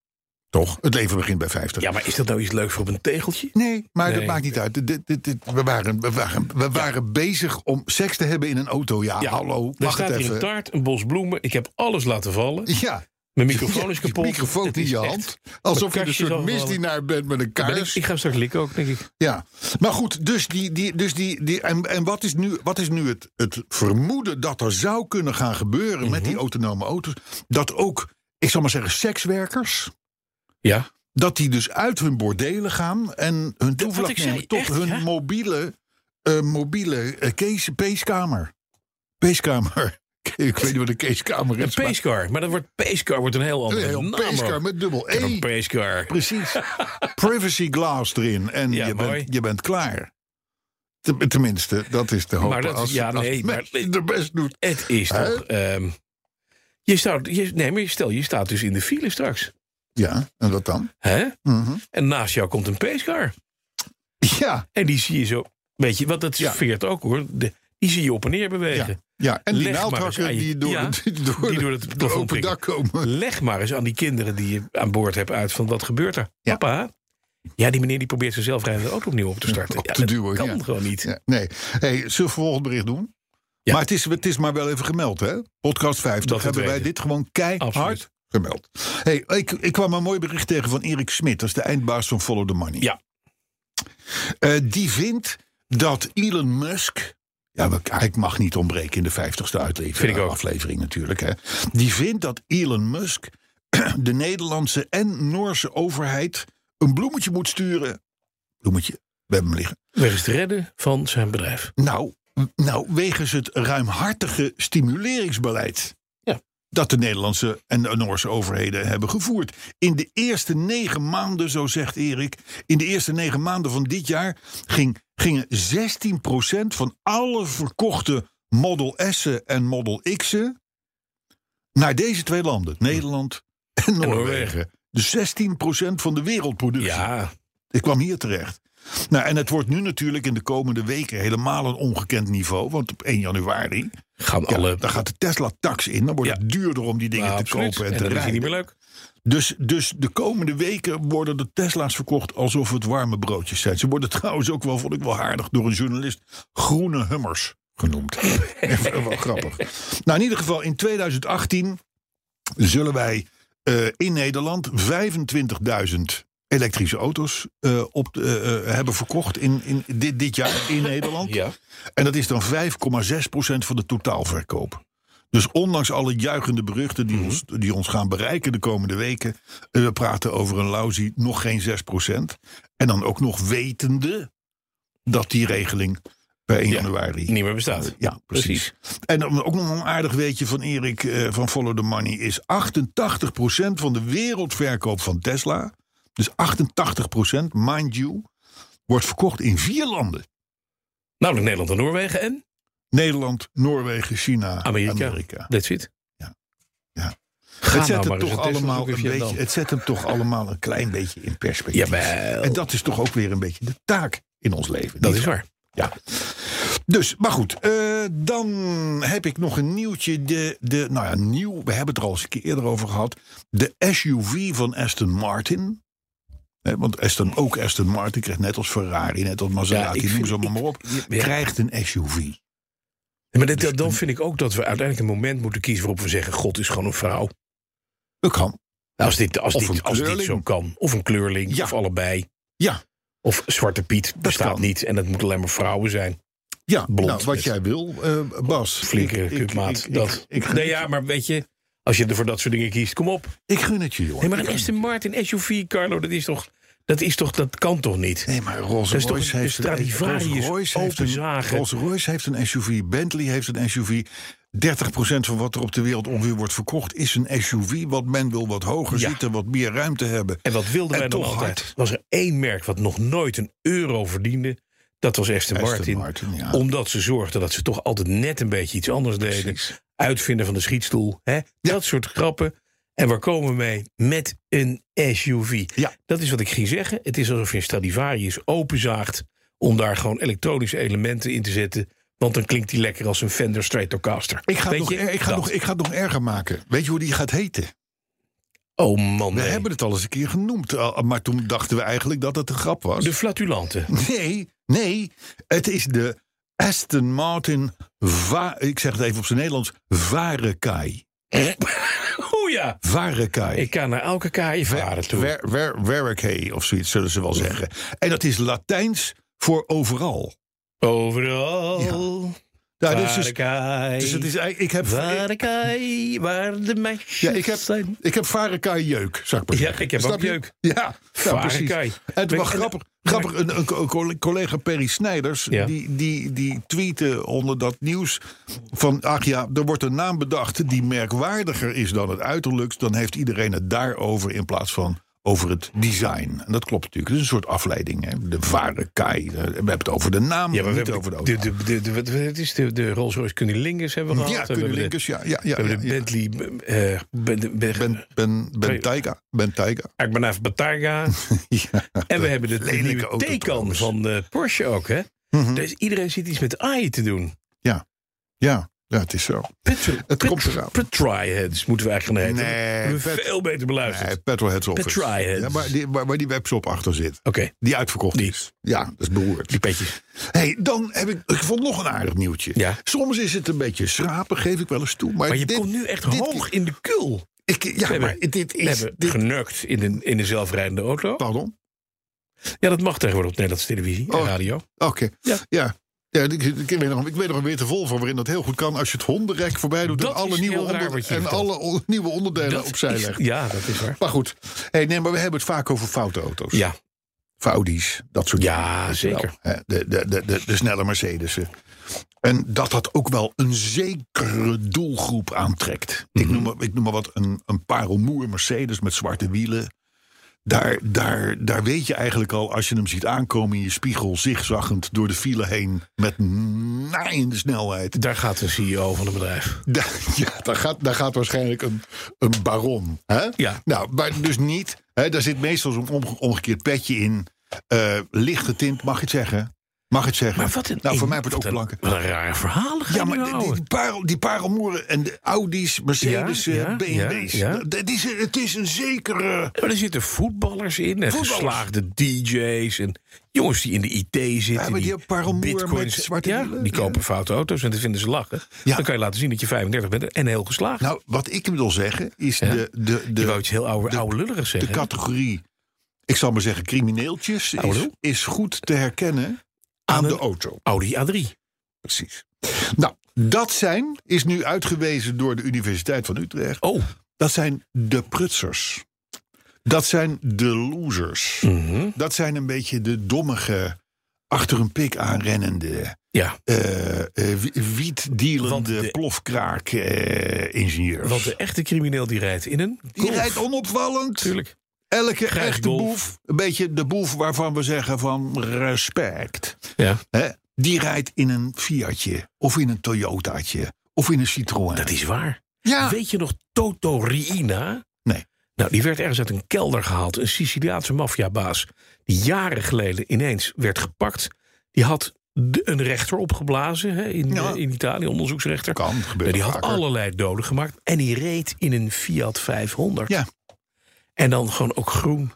B: Toch? Het leven begint bij 50.
E: Ja, maar is dat nou iets leuks voor op een tegeltje?
B: Nee, maar dat
E: Nee.
B: maakt niet uit. Dit- dit- dit- we waren, we waren, we waren bezig om seks te hebben in een auto. Ja,
E: Ja,
B: hallo.
E: Er
B: Wacht
E: staat
B: het
E: hier een
B: even.
E: taart, een bos bloemen. Ik heb alles laten vallen.
B: Ja.
E: Mijn microfoon is
B: Ja, je
E: kapot.
B: microfoon
E: Het
B: in
E: is
B: je
E: echt-
B: hand. Alsof je
E: kastje
B: een
E: is
B: soort
E: overvallen.
B: misdienaar bent met een
E: Ben ik,
B: kaars.
E: ik ga straks likken ook, denk ik.
B: Ja, maar goed, dus die. die, dus die, die en, en wat is nu, wat is nu het, het vermoeden dat er zou kunnen gaan gebeuren met
E: Mhm.
B: die autonome auto's? Dat ook, ik zal maar zeggen, sekswerkers.
E: Ja.
B: Dat die dus uit hun bordelen gaan en hun toevlucht
E: ik zei,
B: nemen tot
E: echt,
B: hun
E: ja?
B: mobiele, eh, mobiele eh, case, peeskamer. Peeskamer. ik weet niet wat een peeskamer
E: Een
B: is. maar-
E: pacecar. Maar dat wordt, pacecar wordt een heel ander
B: Een heel
E: naam.
B: pacecar
E: ook.
B: met dubbel
E: Ik heb
B: E.
E: Een pacecar.
B: Precies. Privacy glass erin. En
E: Ja,
B: je,
E: mooi.
B: bent, je bent klaar. Te- Tenminste, dat is te hopen.
E: Maar dat-
B: als,
E: ja,
B: als
E: nee, maar-
B: men de best doet.
E: Het is
B: Hè?
E: toch... ehm, je staat, je, nee, maar je- stel, je staat dus in de file straks.
B: Ja, en wat dan?
E: Hè?
B: Mhm.
E: En naast jou komt een pacecar.
B: Ja,
E: En die zie je zo... Weet je, want dat
B: Ja.
E: veert ook hoor. De- die zie je op en neer bewegen.
B: ja, ja. En die
E: Leg maar eens
B: naaldhakken
E: aan je-
B: die door,
E: ja,
B: het- die door,
E: die door het
B: het
E: plafond
B: open
E: prikken.
B: dak komen.
E: Leg maar eens aan die kinderen die je aan boord hebt uit van wat gebeurt er.
B: Ja.
E: Papa, ja, die meneer die probeert zijn zelfrijdende auto opnieuw op te starten.
B: Op
E: Ja,
B: te
E: dat
B: duwen,
E: kan
B: ja.
E: gewoon niet.
B: Ja, nee, hey, zullen we volgend bericht doen?
E: Ja.
B: Maar het is, het is maar wel even gemeld, hè? Podcast 50
E: Dat het
B: hebben wij
E: weten.
B: dit gewoon keihard
E: Absoluut.
B: gemeld. Hey, ik, ik kwam een mooi bericht tegen van Erik Smit. Dat is de eindbaas van Follow the Money.
E: Ja.
B: Eh, die vindt dat Elon Musk... Ja, we- hij mag niet ontbreken in de 50ste
E: Vind
B: uitlevering,
E: ik ook.
B: aflevering natuurlijk. Hè. Die vindt dat Elon Musk de Nederlandse en Noorse overheid... een bloemetje moet sturen. Bloemetje, we hebben hem liggen.
E: Weg is het redden van zijn bedrijf.
B: Nou, nou, wegens het ruimhartige stimuleringsbeleid.
E: Ja.
B: Dat de Nederlandse en de Noorse overheden hebben gevoerd. In de eerste negen maanden, zo zegt Erik. In de eerste negen maanden van dit jaar ging, gingen 16% van alle verkochte Model S'en en Model X'en. naar deze twee landen, Nederland en Noorwegen.
E: Noorwegen.
B: De 16% van de wereldproductie.
E: Ja,
B: Ik kwam hier terecht. Nou, en het wordt nu natuurlijk in de komende weken helemaal een ongekend niveau. Want op 1 januari,
E: gaan
B: ja,
E: alle...
B: dan gaat de Tesla-tax in. Dan wordt
E: Ja.
B: het duurder om die dingen
E: Ja,
B: te
E: absoluut.
B: kopen en,
E: en
B: te
E: dat is
B: rijden.
E: niet meer leuk.
B: Dus, dus de komende weken worden de Tesla's verkocht alsof het warme broodjes zijn. Ze worden trouwens ook wel, vond ik wel aardig, door een journalist groene hummers genoemd. Even wel grappig. Nou, in ieder geval, in 2018 zullen wij eh, in Nederland 25.000 elektrische auto's eh, op, de- eh, eh, hebben verkocht in, in dit, dit jaar in Nederland.
E: Ja.
B: En dat is dan 5,6% van de totaalverkoop. Dus ondanks alle juichende beruchten die, ons, die ons gaan bereiken de komende weken. eh, We praten over een lauzie nog geen 6%. En dan ook nog wetende dat die regeling per 1
E: Ja,
B: januari.
E: Niet meer bestaat.
B: Ja, precies. En dan ook nog een aardig weetje van Erik eh, van Follow the Money is 88% van de wereldverkoop van Tesla. Dus 88%, mind you, wordt verkocht in vier landen.
E: Namelijk Nederland en Noorwegen en
B: Nederland, Noorwegen, China,
E: Amerika.
B: Amerika.
E: That's it.
B: Ja. Ja.
E: Ga
B: Het
E: nou
B: zet, hem
E: maar eens
B: toch
E: een Tesla
B: allemaal
E: zoeken
B: een
E: via
B: beetje,
E: Dan.
B: het zet hem toch allemaal een klein beetje in perspectief.
E: Jawel.
B: En dat is toch ook weer een beetje de taak in ons leven.
E: Dat
B: niet
E: is waar.
B: Ja. Dus, maar goed. eh, dan heb ik nog een nieuwtje. De, de, nou ja, nieuw. We hebben het er al eens een keer eerder over gehad. De SUV van Aston Martin. Hè, want Aston, ook Aston Martin krijgt net als Ferrari, net als Maserati,
E: ik
B: noem
E: vind-
B: ze allemaal maar op.
E: ja.
B: Krijgt een SUV.
E: Maar
B: Dus-
E: dit- dan vind ik ook dat we uiteindelijk een moment moeten kiezen waarop we zeggen: God is gewoon een vrouw. Nou,
B: Dat kan.
E: Als dit, als
B: Of
E: dit,
B: een
E: als dit
B: kleurling.
E: zo kan. Of een kleurling.
B: Ja.
E: Of allebei.
B: Ja,
E: Of Zwarte Piet bestaat
B: kan.
E: niet. En dat moeten alleen maar vrouwen zijn.
B: Ja,
E: Blond
B: nou, wat
E: met-
B: jij wil, eh, Bas.
E: Flinke
B: Ik- ik- ik-
E: kutmaat.
B: ik-
E: Dat.
B: Ik, gun
E: nee,
B: het
E: ja,
B: je.
E: maar weet je. Als je er voor dat soort dingen kiest, kom op.
B: ik gun het je, jongen.
E: Nee, maar een Aston Martin SUV, Carlo, dat is toch. Dat, is toch, dat kan toch niet?
B: Nee, maar Rolls
E: Dat is toch
B: Royce
E: een
B: heeft een
E: Stradivarius
B: Rolls Royce heeft een-
E: openzagen?
B: Rolls Royce heeft een SUV, Bentley heeft een SUV. 30% van wat er op de wereld ongeveer wordt verkocht is een SUV. Wat men wil wat hoger
E: Ja.
B: zitten, wat meer ruimte hebben.
E: En wat wilden
B: En
E: wij dan
B: toch
E: altijd?
B: hard.
E: Was er één merk wat nog nooit een euro verdiende? Dat was Aston
B: Aston
E: Martin.
B: Martin, ja.
E: Omdat ze zorgden dat ze toch altijd net een beetje iets anders deden.
B: Precies.
E: Uitvinden van de schietstoel. Hè? Dat soort grappen. En waar komen we mee? Met een SUV.
B: Ja.
E: Dat is wat ik ging zeggen. Het is alsof je een Stradivarius openzaagt... om daar gewoon elektronische elementen in te zetten. Want dan klinkt die lekker als een Fender Stratocaster.
B: Ik ga, het
E: Weet
B: nog,
E: je?
B: er- ik, ga
E: Dat.
B: nog, ik ga het nog erger maken. Weet je hoe die gaat heten?
E: Oh man,
B: We
E: nee.
B: hebben het al eens een keer genoemd. al- Maar toen dachten we eigenlijk dat het een grap was.
E: De flatulante.
B: Nee, nee. Het is de Aston Martin. Va ik zeg het even op zijn Nederlands. Varekai.
E: Oeh ja.
B: Varekai.
E: Ik kan naar elke kaaien varen toe.
B: Wer- wer- Werkei of zoiets zullen ze wel zeggen. En dat is Latijns voor overal.
E: Overal.
B: Nou,
E: waar
B: Ah, dus,
E: de
B: dus,
E: kaai,
B: dus het is, eigenlijk- ik heb,
E: waar de kaai, waar de meisjes
B: ja, ik heb,
E: zijn.
B: ik heb Varekai jeuk, zou ik maar
E: Ja,
B: zeggen.
E: ik heb ook
B: Snap je?
E: jeuk.
B: Ja, ja precies.
E: Varekai.
B: En het was
E: En-
B: grappig, grappig een, een co- een collega Perry Snijders...
E: Ja.
B: Die, die, die tweette onder dat nieuws van... ach ja, er wordt een naam bedacht die merkwaardiger is dan het uiterlijk... dan heeft iedereen het daarover in plaats van over het design. En dat klopt natuurlijk. Het is een soort afleiding. Hè? De ware Kai. Eh, We hebben het over de naam,
E: Ja, maar we
B: niet
E: hebben
B: over de
E: de,
B: auto.
E: de, de, de, wat- wat- het is de, de Rolls Royce Cunnilingus hebben we gehad.
B: ja,
E: We hebben
B: kunnen
E: de-
B: linkers. Ja, ja, ja.
E: We hebben
B: ja,
E: de
B: ja.
E: Bentley... eh, ben, ben,
B: Ben, ben, ben
E: Twee-
B: Taiga. Ben Taiga.
E: ik ben even Bataga.
B: Ja.
E: En we hebben de, de
B: lelijke
E: nieuwe
B: auto
E: Taycan
B: trouwens.
E: van eh, Porsche ook, hè?
B: Mhm.
E: Dus iedereen zit iets met AI te doen.
B: ja, ja, het is zo.
E: Petro,
B: Het komt eraan.
E: Petryheads moeten we eigenlijk gaan heten.
B: Nee,
E: Hebben we
B: pet-
E: veel beter beluisterd.
B: Nee, Petrolheads Office.
E: Petrolheads.
B: Ja, maar die, waar, waar die webshop achter zit.
E: Oké,
B: Die uitverkocht
E: Die.
B: is. Ja, dat is beroerd.
E: die petjes.
B: hey, dan heb ik, ik vond nog een aardig nieuwtje.
E: Ja.
B: Soms is het een beetje schrapen, geef ik wel eens toe. Maar,
E: Maar je
B: dit-
E: komt nu echt
B: dit-
E: hoog in de kul.
B: Ik, ja, maar dit
E: We
B: is...
E: hebben
B: dit-
E: genurkt in een, in een zelfrijdende auto.
B: pardon?
E: Ja, dat mag tegenwoordig op Nederlandse televisie en
B: Oh.
E: radio.
B: Oké.
E: Ja.
B: Ja. ja. ik, ik, weet nog, ik weet nog een weer te vol van waarin dat heel goed kan. Als je het hondenrek voorbij doet
E: Dat
B: en alle,
E: is
B: nieuwe,
E: heel raar wat je
B: en
E: vertelt.
B: alle on- nieuwe onderdelen
E: dat
B: opzij
E: is-
B: legt.
E: Ja, dat is waar.
B: Maar goed, hey, nee, maar we hebben het vaak over foute auto's.
E: Ja,
B: Voor Audi's, dat soort
E: Ja,
B: dingen. Weet je wel.
E: zeker.
B: Hè, De, de, de, de, de snelle Mercedes'en. En dat dat ook wel een zekere doelgroep aantrekt. ik,
E: Mhm.
B: noem maar, ik noem maar wat een, een parelmoer Mercedes met zwarte wielen. Daar, daar, daar weet je eigenlijk al, als je hem ziet aankomen in je spiegel... zigzaggend door de file heen met naaiende snelheid.
E: daar gaat een CEO van een bedrijf.
B: Daar, ja, daar gaat, daar gaat waarschijnlijk een, een baron. Hè?
E: Ja.
B: Nou, maar dus niet. Hè, daar zit meestal zo'n omge- omgekeerd petje in. Eh, lichte tint, mag je het zeggen? Mag het zeggen?
E: Maar wat een,
B: nou, voor mij wordt
E: wordt
B: het ook blanke.
E: Wat een rare verhalen gaan
B: Ja,
E: we
B: maar
E: nu
B: die,
E: nou houden.
B: die, parel, die parelmoeren en de Audi's, Mercedes,
E: Ja,
B: eh,
E: ja,
B: BMW's.
E: ja, ja.
B: Dat- dat is, een- het is een zekere...
E: Maar er zitten voetballers in en
B: Voetballers.
E: geslaagde DJ's en jongens die in de IT zitten.
B: maar die hebben parelmoer
E: bitcoins-
B: met zwarte
E: ja,
B: wielen.
E: die kopen foute auto's en dat vinden ze lachen.
B: Ja.
E: Dan kan je laten zien dat je 35 bent en heel geslaagd.
B: Nou, wat ik wil zeggen is de, de,
E: je
B: de,
E: wou iets heel oude,
B: de-
E: oude lulliger
B: de
E: zeggen.
B: categorie, ik zal maar zeggen crimineeltjes, is,
E: Nou, Hallo?
B: is goed te herkennen
E: Aan
B: aan de
E: een-
B: auto.
E: Audi A3.
B: Precies. Nou, dat zijn, is nu uitgewezen door de Universiteit van Utrecht,
E: Oh,
B: dat zijn de prutsers. Dat zijn de losers.
E: mhm.
B: Dat zijn een beetje de dommige, achter een pik aanrennende,
E: ja.
B: eh eh, wi-
E: Want de-
B: wietdealende plofkraak-ingenieurs.
E: Want de echte crimineel die rijdt in een
B: Die
E: Golf.
B: rijdt onopvallend.
E: Tuurlijk.
B: Elke
E: Grijs
B: echte
E: golf.
B: boef, een beetje de boef waarvan we zeggen van respect.
E: Ja.
B: Hè? Die rijdt in een Fiatje, of in een Toyotaatje, of in een Citroën.
E: Dat is waar.
B: ja,
E: Weet je nog Toto Riina?
B: Nee.
E: Nou, die werd ergens uit een kelder gehaald. Een Siciliaanse maffiabaas. Die jaren geleden ineens werd gepakt. Die had de- een rechter opgeblazen hè, in,
B: Ja.
E: eh, in Italië, onderzoeksrechter.
B: kan gebeuren.
E: Nou, die had
B: vaker.
E: allerlei doden gemaakt. En die reed in een Fiat 500.
B: Ja.
E: En dan gewoon ook groen.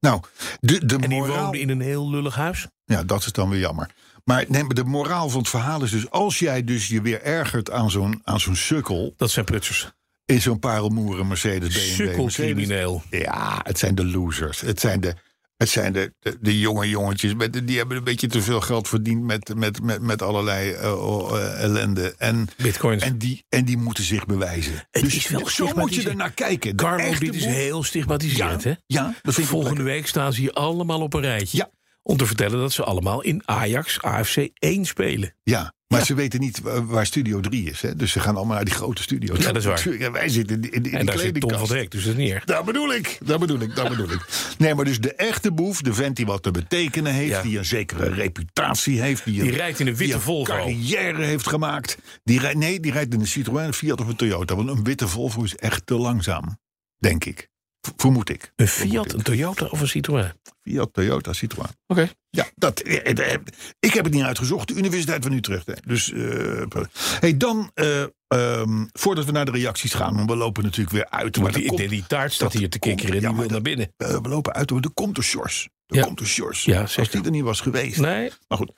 B: Nou, de, de
E: En die
B: moraal.
E: woonde in een heel lullig huis.
B: Ja, dat is dan weer jammer. Maar nee, maar de moraal van het verhaal is dus: als jij dus je weer ergert aan zo'n, aan zo'n sukkel.
E: Dat zijn prutsers.
B: in zo'n parelmoeren Mercedes, BMW, Mercedes,
E: Sukkelcrimineel.
B: Ja, het zijn de losers. Het zijn de, het zijn de, de, de jonge jongetjes. met- Die hebben een beetje te veel geld verdiend met, met, met, met allerlei eh, oh, eh, ellende. En,
E: Bitcoins.
B: en, die, en die moeten zich bewijzen. Dus
E: Dus- Het is wel
B: zo moet je
E: stigmatiserend.
B: ernaar kijken. De
E: Carlo,
B: echte
E: dit is
B: boef-
E: heel stigmatiserend, hè?
B: Ja, dat vind ik ook
E: Volgende
B: lekker.
E: week staan ze hier allemaal op een rijtje.
B: Ja.
E: Om te vertellen dat ze allemaal in Ajax AFC 1 spelen.
B: Ja, maar ze weten niet wa- waar Studio 3 is. Hè? Dus ze gaan allemaal naar die grote studio's.
E: Ja, dat is waar.
B: Natuurlijk, Wij zitten in, die- in, die- in
E: en
B: die
E: daar zit Tom van
B: kledingkast.
E: Dijk, dus dat is niet erg.
B: Daar bedoel ik, daar bedoel ik, daar bedoel ik. Nee, maar dus de echte boef, de vent die wat te betekenen heeft...
E: Ja.
B: die een zekere reputatie heeft... Die,
E: Die rijdt in een witte
B: die
E: Volvo.
B: carrière heeft gemaakt. Die rij- nee, die rijdt in een Citroën, een Fiat of een Toyota. Want een witte Volvo is echt te langzaam, denk ik. V- vermoed ik.
E: Een
B: Vermoed
E: Fiat,
B: ik.
E: een Toyota of een Citroën.
B: Fiat, Toyota, Citroën.
E: Oké.
B: Ja, dat, eh, eh, eh, ik heb het niet uitgezocht. De Universiteit van Utrecht. Hè. Dus, eh, hey, dan, eh, ehm, voordat we naar de reacties gaan... want we lopen natuurlijk weer uit.
E: Maar
B: maar dan
E: die,
B: komt-
E: die, die taart staat
B: dat
E: hier te
B: komt-
E: kikkeren en
B: ja,
E: die
B: maar
E: wil naar
B: dat-
E: binnen.
B: Eh, we lopen uit, hoor. er komt een Sjors. Er
E: Ja.
B: komt een Sjors.
E: Ja,
B: Als
E: zeker.
B: die er niet was geweest.
E: Nee,
B: Maar goed.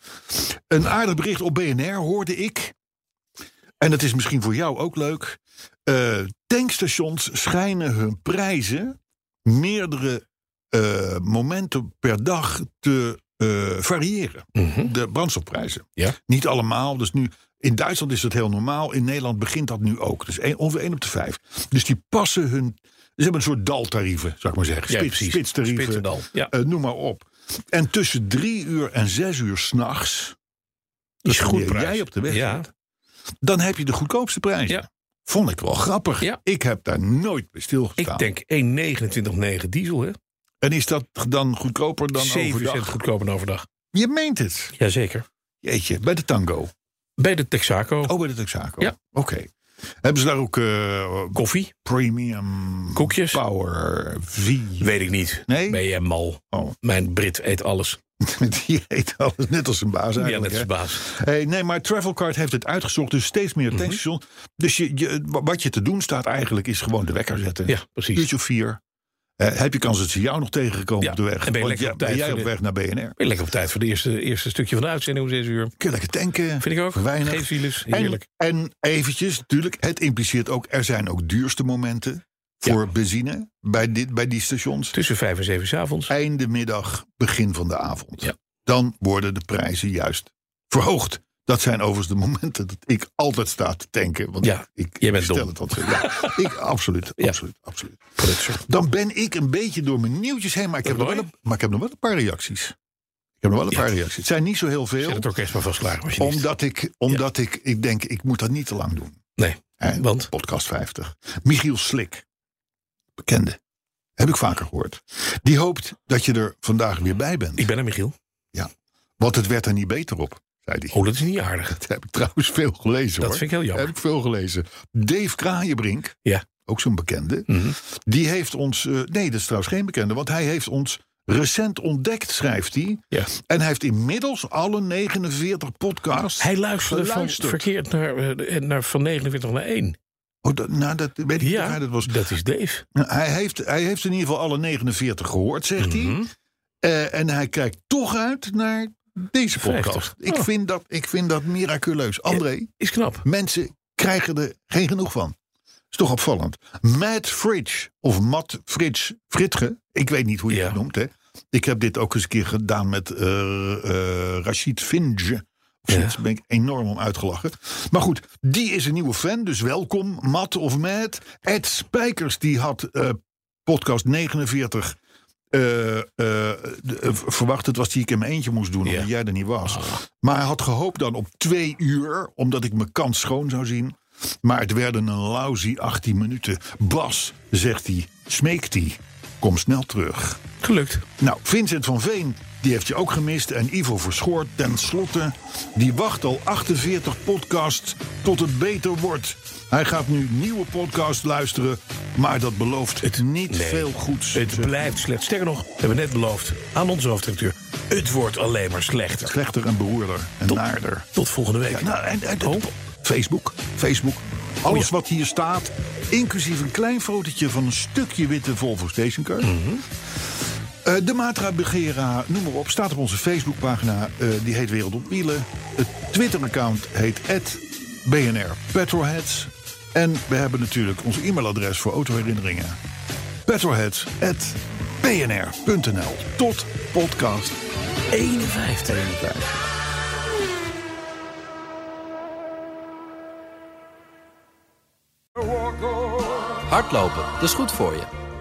B: Een aardig bericht op BNR hoorde ik. En dat is misschien voor jou ook leuk. Eh, tankstations schijnen hun prijzen meerdere eh, momenten per dag te eh, variëren.
E: Mhm.
B: De brandstofprijzen.
E: Ja.
B: Niet allemaal. Dus nu, in Duitsland is dat heel normaal. In Nederland begint dat nu ook. Dus één- ongeveer 1 op de 5. Dus die passen hun. Ze hebben een soort daltarieven, zou ik maar zeggen.
E: Ja,
B: Spits,
E: precies.
B: spitstarieven.
E: Spits en dal. Ja.
B: Eh, noem maar op. En tussen drie uur en zes uur s'nachts.
E: is goed prijs.
B: jij op de weg.
E: Ja.
B: bent, Dan heb je de goedkoopste prijzen.
E: Ja.
B: Vond ik wel grappig.
E: Ja.
B: Ik heb daar nooit bij stilgestaan.
E: ik denk 1,29,9 diesel, hè?
B: En is dat dan goedkoper dan
E: 7 cent
B: overdag?
E: goedkoper dan overdag.
B: Je meent het.
E: Jazeker.
B: Jeetje, bij de Tango.
E: Bij de Texaco.
B: Oh, bij de Texaco.
E: Ja.
B: Oké. Hebben ze daar ook eh,
E: Koffie?
B: premium...
E: Koekjes?
B: Power V.
E: Weet ik niet.
B: Nee?
E: Ben jij mal?
B: Oh.
E: Mijn Brit eet alles.
B: Die heet alles net als een baas
E: Ja,
B: eigenlijk.
E: net
B: hè?
E: als baas.
B: Hey, nee, maar Travelcard heeft het uitgezocht, dus steeds
E: Mhm.
B: meer tankstations. Dus je, je- wa- wat je te doen staat eigenlijk is gewoon de wekker zetten.
E: Ja, precies.
B: Uurtje of vier. Eh, heb je kans dat ze jou nog tegenkomen
E: Ja,
B: op de weg?
E: en ben je
B: Want
E: lekker
B: ja,
E: op tijd
B: ben jij
E: voor
B: op
E: de-
B: weg naar BNR?
E: Weer Lekker op tijd voor het eerste, eerste stukje van de uitzending om 6 uur.
B: Kun je lekker tanken?
E: Vind ik ook.
B: Weinig.
E: Geen files.
B: En,
E: Heerlijk.
B: en eventjes, natuurlijk, het impliceert ook... er zijn ook duurste momenten voor benzine bij, dit, bij die stations.
E: Tussen 5 en 7 's avonds.
B: Einde middag, begin van de avond.
E: Ja.
B: Dan worden de prijzen juist verhoogd. Dat zijn overigens de momenten dat ik altijd sta te tanken. Want
E: Ja,
B: ik
E: jij bent
B: stel
E: dom.
B: het altijd. Ja, ik, absoluut,
E: Ja.
B: absoluut, absoluut.
E: Prutser.
B: Dan ben ik een beetje door mijn nieuwtjes heen. Maar ik, heb nog,
E: Roy?
B: wel een, maar ik heb nog wel een paar reacties. Ik heb nog wel een
E: Ja.
B: paar reacties. Het zijn niet zo heel veel.
E: Zet het orkest maar vast klaar. machinist.
B: Omdat, ik, omdat ik, ik denk, ik moet dat niet te lang doen.
E: Nee,
B: Hè,
E: want?
B: Podcast 50. Michiel Slik. Bekende. Heb ik vaker gehoord. Die hoopt dat je er vandaag weer bij bent.
E: Ik ben er, Michiel.
B: Want het werd er niet beter op, zei hij.
E: Oh, dat is niet aardig.
B: Dat heb ik trouwens veel gelezen
E: Dat
B: hoor.
E: vind ik heel jammer.
B: Heb ik veel gelezen. Dave Kraaienbrink.
E: Ja.
B: ook zo'n bekende.
E: Mhm.
B: Die heeft ons. eh, nee, dat is trouwens geen bekende, want hij heeft ons recent ontdekt, schrijft hij.
E: Ja.
B: En hij heeft inmiddels alle 49 podcasts.
E: Hij luisterde van,
B: Geluisterd.
E: verkeerd naar, eh, naar, van 49 naar 1.
B: Oh, dat, nou, dat weet ik niet.
E: Ja,
B: waar Dat was. Nou,
E: dat is Dave.
B: Hij heeft, hij heeft in ieder geval alle 49 gehoord, zegt
E: Mhm.
B: hij. Eh, en hij kijkt toch uit naar deze podcast.
E: 50.
B: Ik,
E: Oh.
B: vind dat, ik vind dat miraculeus. André,
E: Is knap.
B: mensen krijgen er geen genoeg van. Is toch opvallend. Matt Fridge, of Matt Fridge, Fritge, ik weet niet hoe je
E: Ja.
B: het noemt. Hè. Ik heb dit ook eens een keer gedaan met eh eh, Rachid Finge. Of zoiets, Daar ben ik enorm om uitgelachen. Maar goed, die is een nieuwe fan, dus welkom, Matt of Matt. Ed Spijkers, die had eh, podcast 49 eh, eh, de- eh, verwacht. Het was die ik in mijn eentje moest doen, omdat jij er niet was. Maar hij had gehoopt dan op twee uur, omdat ik mijn kans schoon zou zien. Maar het werden een lousy 18 minuten. Bas, zegt hij, smeekt hij. Kom snel terug.
E: Gelukt.
B: Nou, Vincent van Veen, die heeft je ook gemist. En Ivo Verschoort, tenslotte, die wacht al 48 podcasts tot het beter wordt. Hij gaat nu nieuwe podcasts luisteren, maar dat belooft het niet
E: nee.
B: veel goeds.
E: Het blijft slecht. Sterker nog, we hebben net beloofd aan onze hoofdredacteur. Het wordt alleen maar slechter.
B: Slechter en beroerder en naarder.
E: Tot volgende week.
B: Ja, nou, en, en-
E: Oh.
B: Facebook, Facebook. Alles
E: Oh ja.
B: wat hier staat, inclusief een klein fotootje van een stukje witte Volvo
E: Mhm.
B: stationcar. Eh, de Matra Begera, noem maar op, staat op onze Facebookpagina. eh, die heet Wereld op Wielen. Het Twitter-account heet BNR Petrolheads. En we hebben natuurlijk ons e-mailadres voor autoherinneringen. petrolheads.bnr.nl Tot podcast
E: 51.
H: Hardlopen, dat is goed voor je.